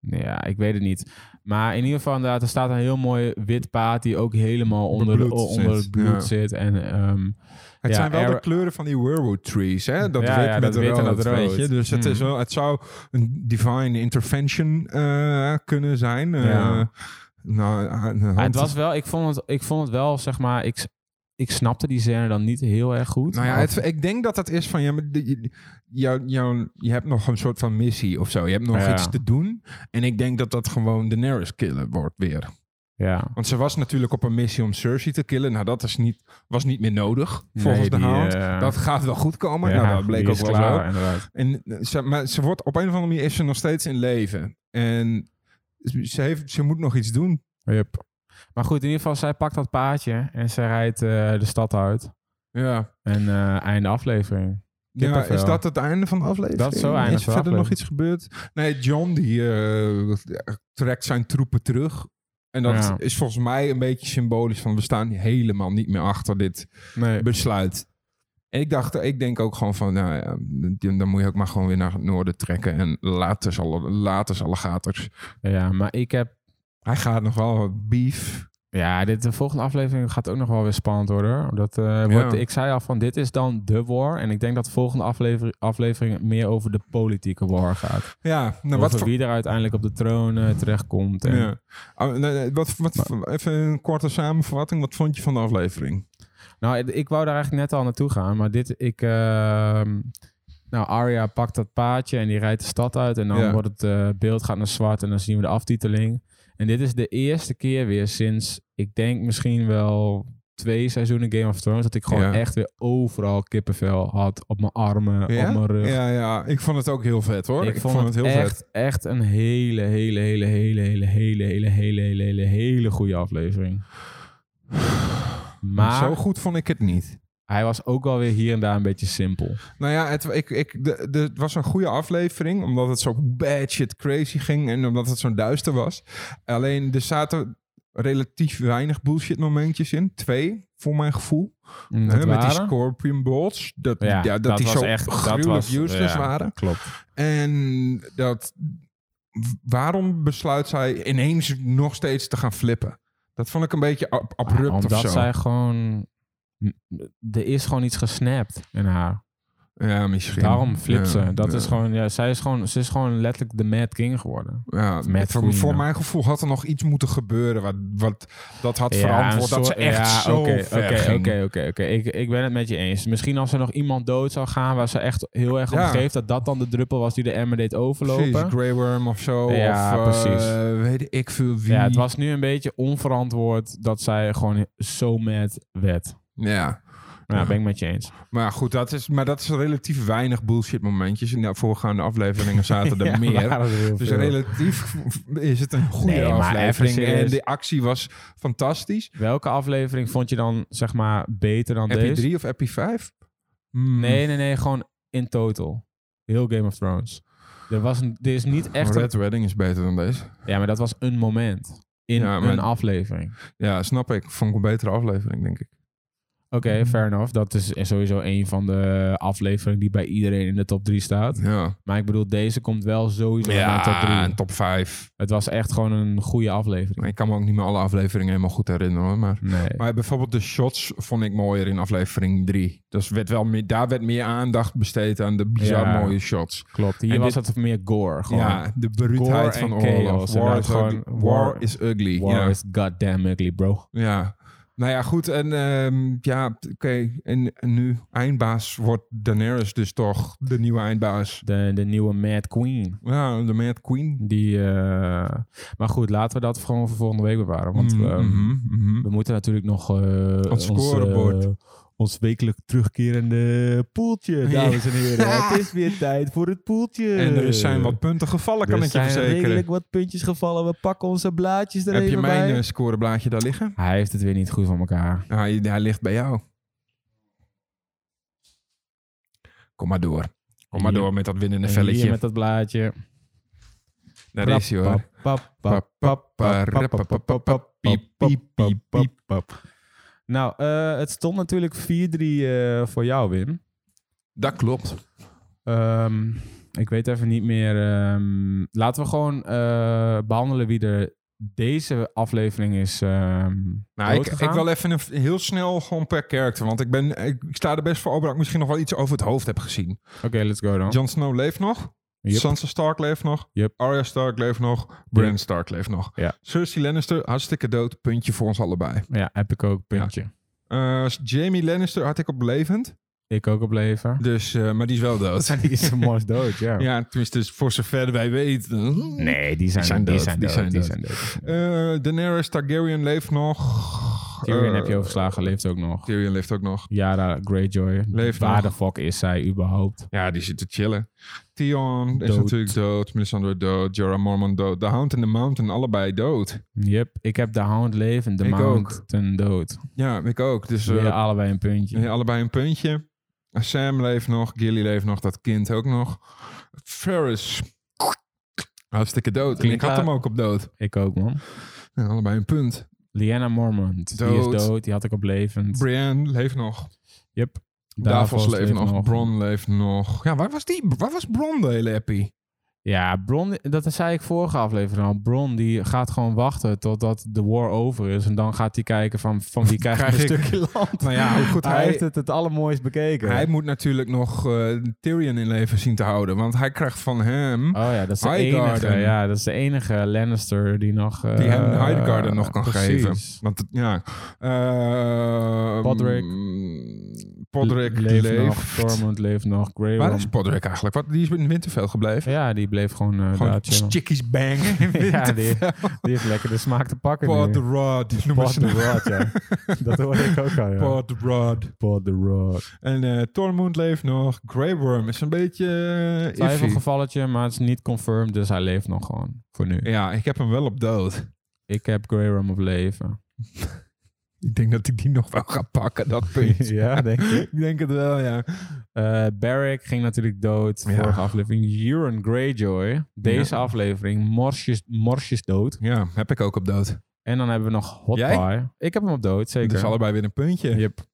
Ja, ik weet het niet. Maar in ieder geval, inderdaad, er staat een heel mooi wit paard die ook helemaal onder, de,
Bebloed
onder
zit,
het bloed
ja.
zit. En ehm,
Het
Ja,
zijn wel de
Arya-
kleuren van die werewolf trees. Hè? Dat
Ja,
wit
ja,
met
dat wit
rood,
en dat
Weet
rood.
je? Dus het,
Hmm.
is wel, het zou een divine intervention eh, kunnen zijn. Eh,
Ja.
nou, aan de
maar
hand-
het was wel, ik vond het, ik vond het wel, zeg maar, ik, ik snapte die scène dan niet heel erg goed.
Nou ja,
Of-
het- ik denk dat dat is van, ja, maar de- je- jou, jou, je hebt nog een soort van missie of zo. Je hebt nog
Ja.
iets te doen. En ik denk dat dat gewoon Daenerys killen wordt weer.
ja.
Want ze was natuurlijk op een missie om Cersei te killen. Nou, dat is niet, was niet meer nodig, volgens
Nee,
de
die,
hand.
eh,
Dat gaat wel goed komen.
ja,
nou, dat bleek
die
ook
is
wel
klaar,
zo.
inderdaad.
En eh, ze, maar ze wordt op een of andere manier is ze nog steeds in leven. En ze, heeft, ze moet nog iets doen.
Yep. Maar goed, in ieder geval, zij pakt dat paardje en zij rijdt eh, de stad uit.
Ja.
En eh, einde aflevering.
Ja,
Kippenvel.
is dat het einde van de aflevering?
Dat is zo einde
Is
van de
verder nog
aflevering.
iets gebeurd? Nee, John die eh, trekt zijn troepen terug. En dat
Ja.
is volgens mij een beetje symbolisch van we staan helemaal niet meer achter dit
Nee.
besluit. En ik dacht, ik denk ook gewoon van, nou ja, dan moet je ook maar gewoon weer naar het noorden trekken. En later zal, later zal gaters.
Ja, maar ik heb
Hij gaat nog wel wat beef.
Ja, dit, de volgende aflevering gaat ook nog wel weer spannend worden. hoor. Dat, eh, wordt,
Ja.
Ik zei al van, dit is dan de war. En ik denk dat de volgende aflevering, aflevering meer over de politieke war gaat.
Ja, nou
over
wat voor...
wie er uiteindelijk op de troon eh, terechtkomt. En,
Ja. Ah, nee, nee, wat, wat, even een korte samenvatting. Wat vond je van de aflevering?
Nou, ik- ik wou daar eigenlijk net al naartoe gaan, maar dit, ik... ehm, nou, Arya pakt dat paadje en die rijdt de stad uit. En dan
Ja.
wordt het eh, beeld gaat naar zwart en dan zien we de aftiteling. En dit is de eerste keer weer sinds, ik denk misschien wel twee seizoenen Game of Thrones... dat ik gewoon
Ja.
echt weer overal kippenvel had. Op mijn armen,
Ja?
op mijn rug.
Ja, ja, ik vond het ook heel vet hoor.
Ik, vond, het,
heel
echt,
vet.
echt een hele, hele, hele, hele, hele, hele, hele, hele, hele, hele, hele goede aflevering.
Maar
Maar
zo goed vond ik het niet.
hij was ook wel weer hier en daar een beetje simpel.
Nou ja, het, ik, ik, de, de, het was een goede aflevering, omdat het zo bad shit crazy ging en omdat het zo duister was. Alleen er zaten relatief weinig bullshit momentjes in. Twee, voor mijn gevoel.
Mm,
Hè,
dat
met die
waren?
Scorpion Bolts. Dat, ja, dat, die zo gruwelijk useless
ja,
waren.
Klopt.
En dat, waarom besluit zij ineens nog steeds te gaan flippen? Dat vond ik een beetje ab- abrupt of
Omdat
zo.
zij gewoon... m- Er is gewoon iets gesnapt in haar.
Ja, misschien.
Dus Daarom flipt
Ja,
ze. Dat
ja.
is gewoon... Ja, zij is gewoon... Ze is gewoon letterlijk de Mad King geworden.
Ja,
Met
voor,
Queen,
voor
ja.
mijn gevoel had er nog iets moeten gebeuren wat, wat dat had
Ja,
verantwoord.
een
Dat ze
soort-
echt
ja,
zo
oké,
ver
oké,
ging.
Oké, oké, oké. Ik- Ik ben het met je eens. Misschien als er nog iemand dood zou gaan waar ze echt heel erg om
Ja.
geeft, dat dat dan de druppel was die de emmer deed overlopen.
Precies, Grey Worm of zo.
Ja,
of, eh,
precies.
weet ik veel wie.
Ja, het was nu een beetje onverantwoord dat zij gewoon zo mad werd.
Ja.
Nou,
Ja.
ben ik met je eens.
Maar goed, dat is, maar dat is relatief weinig bullshit momentjes. In de voorgaande afleringen zaten er
Ja,
meer.
waren er heel
Dus
veel.
relatief is het een goede
Nee, maar
aflevering.
even serieus.
En de actie was fantastisch.
Welke aflevering vond je dan, zeg maar, beter dan
Epi
deze?
3 of Epi 5? Hmm.
Nee, nee, nee. Gewoon in total. Heel Game of Thrones. Er, was een, er is niet echt... een-
Red Wedding is beter dan deze.
ja, maar dat was een moment. In
Ja, maar-
een aflevering.
Ja, snap ik. Vond ik een betere aflevering, denk ik.
Oké,
Mhm.
fair enough. Dat is sowieso een van de afleveringen die bij iedereen in de top 3 staat.
Ja.
Maar ik bedoel, deze komt wel sowieso in de top
Ja,
3.
een top 5.
Het was echt gewoon een goede aflevering.
Ik kan me ook niet meer alle afleveringen helemaal goed herinneren. hoor, Maar,
Nee.
maar bijvoorbeeld de shots vond ik mooier in aflevering 3. Dus werd wel meer, daar werd meer aandacht besteed aan de bizar
Ja.
mooie shots.
Klopt. Hier
En
was het meer gore. Gewoon.
ja, de bruutheid
gore
van
en
oorlog.
chaos,
War
inderdaad,
is,
gewoon
ugly.
war.
war is ugly.
War
ja.
is goddamn ugly, bro.
ja. Nou ja, goed. En ehm, ja, oké. En, en nu, eindbaas wordt Daenerys dus toch de nieuwe eindbaas.
De, de nieuwe Mad Queen.
Ja, de Mad Queen.
Die, eh, Maar goed, laten we dat gewoon voor volgende week bewaren. Want
Mhm,
ehm,
mhm, mhm.
we moeten natuurlijk nog... eh,
Ons
ons, eh,
scorebord.
ons wekelijk terugkerende poeltje, dames en heren. het is weer tijd voor het poeltje.
En er zijn wat punten gevallen, kan
Eh. er
ik je
zijn
verzekeren.
redelijk wat puntjes gevallen. We pakken onze blaadjes er
Heb je
even bij.
mijn eh, scoreblaadje daar liggen?
Hij heeft het weer niet goed voor elkaar.
Hij, hij ligt bij jou. Kom maar door. Kom maar
Hier.
door met dat winnende
En hier
velletje.
met dat blaadje.
Daar is hij hoor.
Pap, pap, pap, pap, pap, pap, pap, pap, pap,
Piep, piep, piep, piep.
pap. Nou, eh, het stond natuurlijk 4-3 eh, voor jou, Wim.
Dat klopt.
Ehm, ik weet even niet meer. ehm, laten we gewoon eh, behandelen wie er deze aflevering is. ehm
Nou, ik, ik
doodgegaan.
wil even een, heel snel gewoon per karakter. Want ik, ben, ik, ik sta er best voor open dat ik misschien nog wel iets over het hoofd heb gezien.
Oké, let's go dan.
Jon Snow leeft nog.
Yep.
Sansa Stark leeft nog.
Yep.
Arya Stark leeft nog. Bran
Yep.
Stark leeft nog.
Ja.
Cersei Lannister, hartstikke dood. Puntje voor ons allebei.
Ja, heb ik ook. Puntje.
Jamie Lannister had ik op levend.
Ik ook op leven.
Dus, eh, maar die is wel dood.
Die is mors dood, ja.
Ja, tenminste, dus voor zover wij weten.
Nee, die zijn,
zijn
die
dood,
zijn
die
dood.
zijn
Die
dood.
zijn dood. die zijn dood.
Eh, Daenerys Targaryen leeft nog.
Tyrion
Eh,
heb je overslagen, leeft ook nog.
Tyrion leeft ook nog.
Yara Greyjoy.
Leeft
Waar
nog.
de fuck is zij überhaupt?
Ja, die zit te chillen. Theon is
Dood.
natuurlijk dood. Melisandre dood. Jorah Mormont dood. The Hound en The Mountain allebei dood.
Yep, ik heb de Hound levend, de
Ik
Mount ten dood.
Ja, ik ook. Dus eh,
Weer allebei een puntje.
eh, allebei een puntje. Sam leeft nog. Gilly leeft nog. Dat kind ook nog. Ferris. Hartstikke dood. En ik
Klinkt
had
la-
hem ook op dood.
Ik ook, man.
Ja, allebei een punt.
Lyanna Mormont. Die
Dood.
is dood, die had ik op levend.
Brienne leeft nog.
Yep.
Davos, leeft nog, Bron leeft nog. Ja, waar was die? Waar was Bron de hele happy?
Ja, Bron, dat zei ik vorige aflevering al. Bron die gaat gewoon wachten totdat de war over is. En dan gaat hij kijken van, van wie krijg,
Krijg
ik een
ik-
stukje land.
Nou ja, hoe goed
hij, heeft
hij,
het het allermooist bekeken.
hij moet natuurlijk nog eh, Tyrion in leven zien te houden. Want hij krijgt van hem...
oh ja, dat is de
Highgarden.
enige. Ja, dat is de enige Lannister die nog... eh,
die hem Hidegarden nog kan
precies.
geven. Want het- ja... eh,
Podrick.
mm, Podrick
leeft,
leeft.
nog, Tormund leeft nog, Grey
Waar
Worm-
is Podrick eigenlijk? Wat, die is in Winterfell gebleven.
Ja, die bleef gewoon... eh
Gewoon
daar chillen.
chickies bangen in Winterfell.
Ja, die, die heeft lekker de smaak te pakken
Pod
nu.
Rod noemen
Pod
ze
the
hem.
Rod, ja. Dat hoorde ik ook al, ja.
Pod Rod.
Pod the Rod.
En eh Tormund leeft nog. Grey Worm is een beetje eh, iffy.
Twijfelgevalletje, maar het is niet confirmed, dus hij leeft nog gewoon voor nu.
Ja, ik heb hem wel op dood.
Ik heb Grey Worm op leven.
Ik denk dat ik die nog wel ga pakken, dat punt.
ja, denk ik.
ik denk het wel, ja.
Eh, Barrick ging natuurlijk dood.
Ja.
Vorige aflevering. Euron Greyjoy. Deze
Ja.
aflevering. Morsjes, morsjes dood.
Ja, heb ik ook op dood.
En dan hebben we nog Hot
Jij?
Pie. Ik heb hem op dood, zeker.
Dus allebei weer een puntje.
Yep.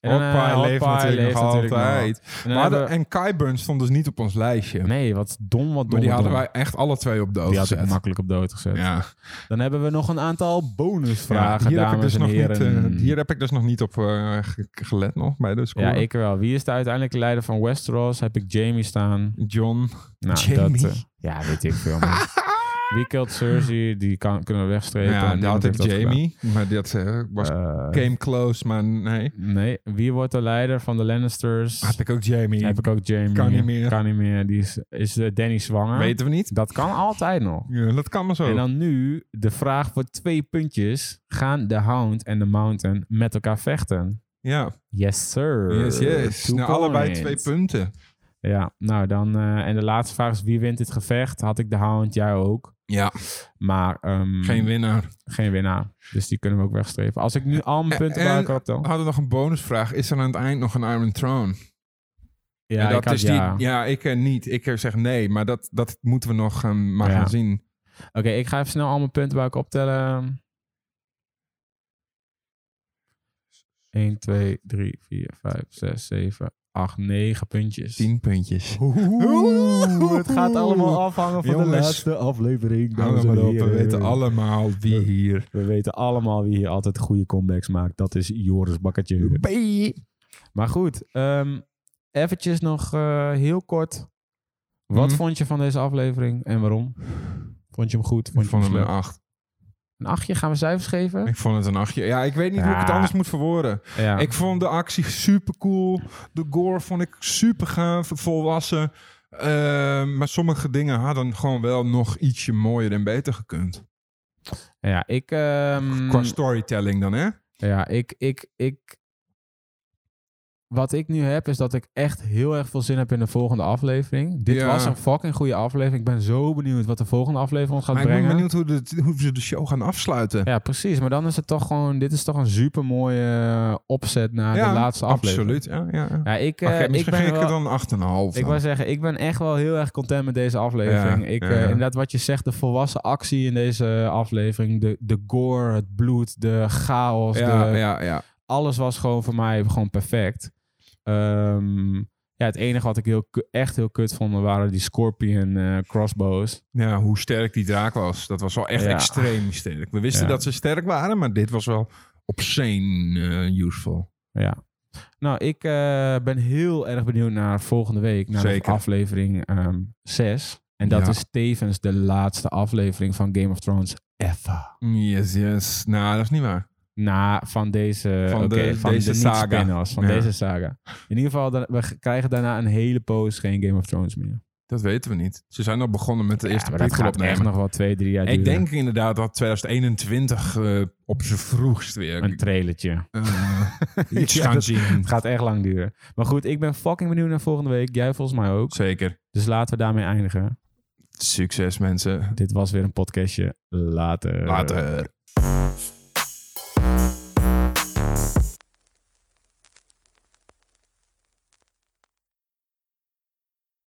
En,
Hot
eh,
Pie
Hot
leeft
Pie
natuurlijk
leeft
nog
natuurlijk nog.
altijd.
En dan
Maar hadden-
hebben we-
en Kyburn stond dus niet op ons lijstje.
Nee, wat dom, wat dom.
maar die
wat
hadden
dom.
wij echt alle twee op dood
Die had ik
gezet.
makkelijk op dood gezet.
Ja.
Dan hebben we nog een aantal bonusvragen,
Ja, hier, heb ik
dames
dus
en
nog niet,
heren. Hmm.
eh, hier heb ik dus nog niet op eh, ge- gelet nog bij de score.
Ja, ik wel. Wie is de uiteindelijke leider van Westeros? Heb ik Jamie staan.
John.
Nou,
Jamie?
eh, ja, weet ik veel. man. Wie killed Cersei? Die kan, kunnen we wegstrepen.
nou ja,
Niemand
dat had ik
heeft dat
Jamie. maar dat eh, was,
gedaan. Eh,
came close, maar nee.
nee. Wie wordt de leider van de Lannisters?
Had ik ook Jamie.
heb ik ook Jamie.
Kan niet meer.
Kan niet meer. Die is, is eh, Danny zwanger.
Weten we niet.
Dat kan altijd nog.
Ja, dat kan maar zo.
En dan nu de vraag voor twee puntjes. Gaan de Hound en de Mountain met elkaar vechten?
ja,
Yes, sir.
yes, yes.
Eh, Two
Nou, allebei
points. Hmm.
twee punten.
Ja, nou dan. eh, en de laatste vraag is: wie wint dit gevecht? Had ik de Hound, jij ook.
Ja,
Maar ehm,
geen winnaar.
geen winnaar. Dus die kunnen we ook wegstrepen. Als ik nu al mijn punten bij
en-
elkaar optel.
We hadden nog een bonusvraag. Is er aan het eind nog een Iron Throne?
Ja,
En dat
ik had
is
ja.
die. Ja, ik eh, niet. Ik eh, zeg nee, maar dat, dat moeten we nog eh, maar
Ja.
gaan zien.
Oké, ik ga even snel al mijn punten bij elkaar optellen. 1, 2, 3, 4, 5, 6, 7, 8, 9 puntjes.
Tien puntjes.
Oeh, het gaat allemaal afhangen van de
Jongens.
laatste aflevering. dames en
Allemaal op, we
heren.
weten allemaal wie hier.
We weten allemaal wie hier altijd goede comebacks maakt. Dat is Joris Bakkertje. Maar goed, ehm eventjes nog eh, heel kort. Wat
Mhm.
vond je van deze aflevering en waarom? Vond je hem goed? Vond
Ik
je hem
vond hem een
slecht?
8.
Een achtje? Gaan we cijfers geven?
Ik vond het een 8. Ja, ik weet niet hoe ik het
Ja.
anders moet verwoorden.
Ja.
Ik vond de actie super cool. De gore vond ik super gaaf, volwassen. Eh, maar sommige dingen hadden gewoon wel nog ietsje mooier en beter gekund.
Mm. ja, ik, ehm,
Qua storytelling dan, hè?
ja, ik, ik, ik... Wat ik nu heb, is dat ik echt heel erg veel zin heb in de volgende aflevering. Dit
Ja.
was een fucking goede aflevering. Ik ben zo benieuwd wat de volgende aflevering ons gaat
Maar ik ben
brengen.
benieuwd hoe, de, hoe ze de show gaan afsluiten.
Ja, precies. Maar dan is het toch gewoon... Dit is toch een super mooie opzet naar
Ja,
de laatste aflevering.
Absoluut, ja. ja. ja.
Ja, ik,
Maar
eh,
kijk,
ik
misschien
ben
ging ik
wel-
er dan 8,5
Ik
aan.
wou zeggen, ik ben echt wel heel erg content met deze aflevering.
Ja,
ik,
ja,
eh,
ja.
inderdaad, wat je zegt, de volwassen actie in deze aflevering. De, de gore, het bloed, de chaos.
ja,
de-
ja, ja.
Alles was gewoon voor mij gewoon perfect. Ehm, ja, het enige wat ik heel, ku- echt heel kut vond, waren die Scorpion eh, crossbows.
Ja, hoe sterk die draak was. Dat was wel echt
Ja.
extreem sterk. We wisten
Ja.
dat ze sterk waren, maar dit was wel obscene eh, useful.
Ja. Nou, ik eh, ben heel erg benieuwd naar volgende week, naar de
Zeker.
aflevering ehm 6. En dat
Ja.
is tevens de laatste aflevering van Game of Thrones ever.
Yes, yes. Nou, dat is niet waar.
Na van deze,
Van
oké,
de-
van
deze
de
saga.
niet-spin-offs, van
Ja.
deze saga. In ieder geval, dan- we g- krijgen daarna een hele poos geen Game of Thrones meer.
Dat weten we niet. Ze zijn al begonnen met de eerste
ja,
ja,
maar dat gaat echt nog wel twee, drie jaar
Ik
duren.
denk inderdaad dat 2021 eh, op zijn vroegst weer
Een trailertje.
eh, iets
Ja,
gaan
dat-
zien.
Het gaat echt lang duren. Maar goed, ik ben fucking benieuwd naar volgende week. Jij volgens mij ook.
Zeker.
Dus laten we daarmee eindigen.
Succes mensen.
Dit was weer een podcastje. Later.
Later.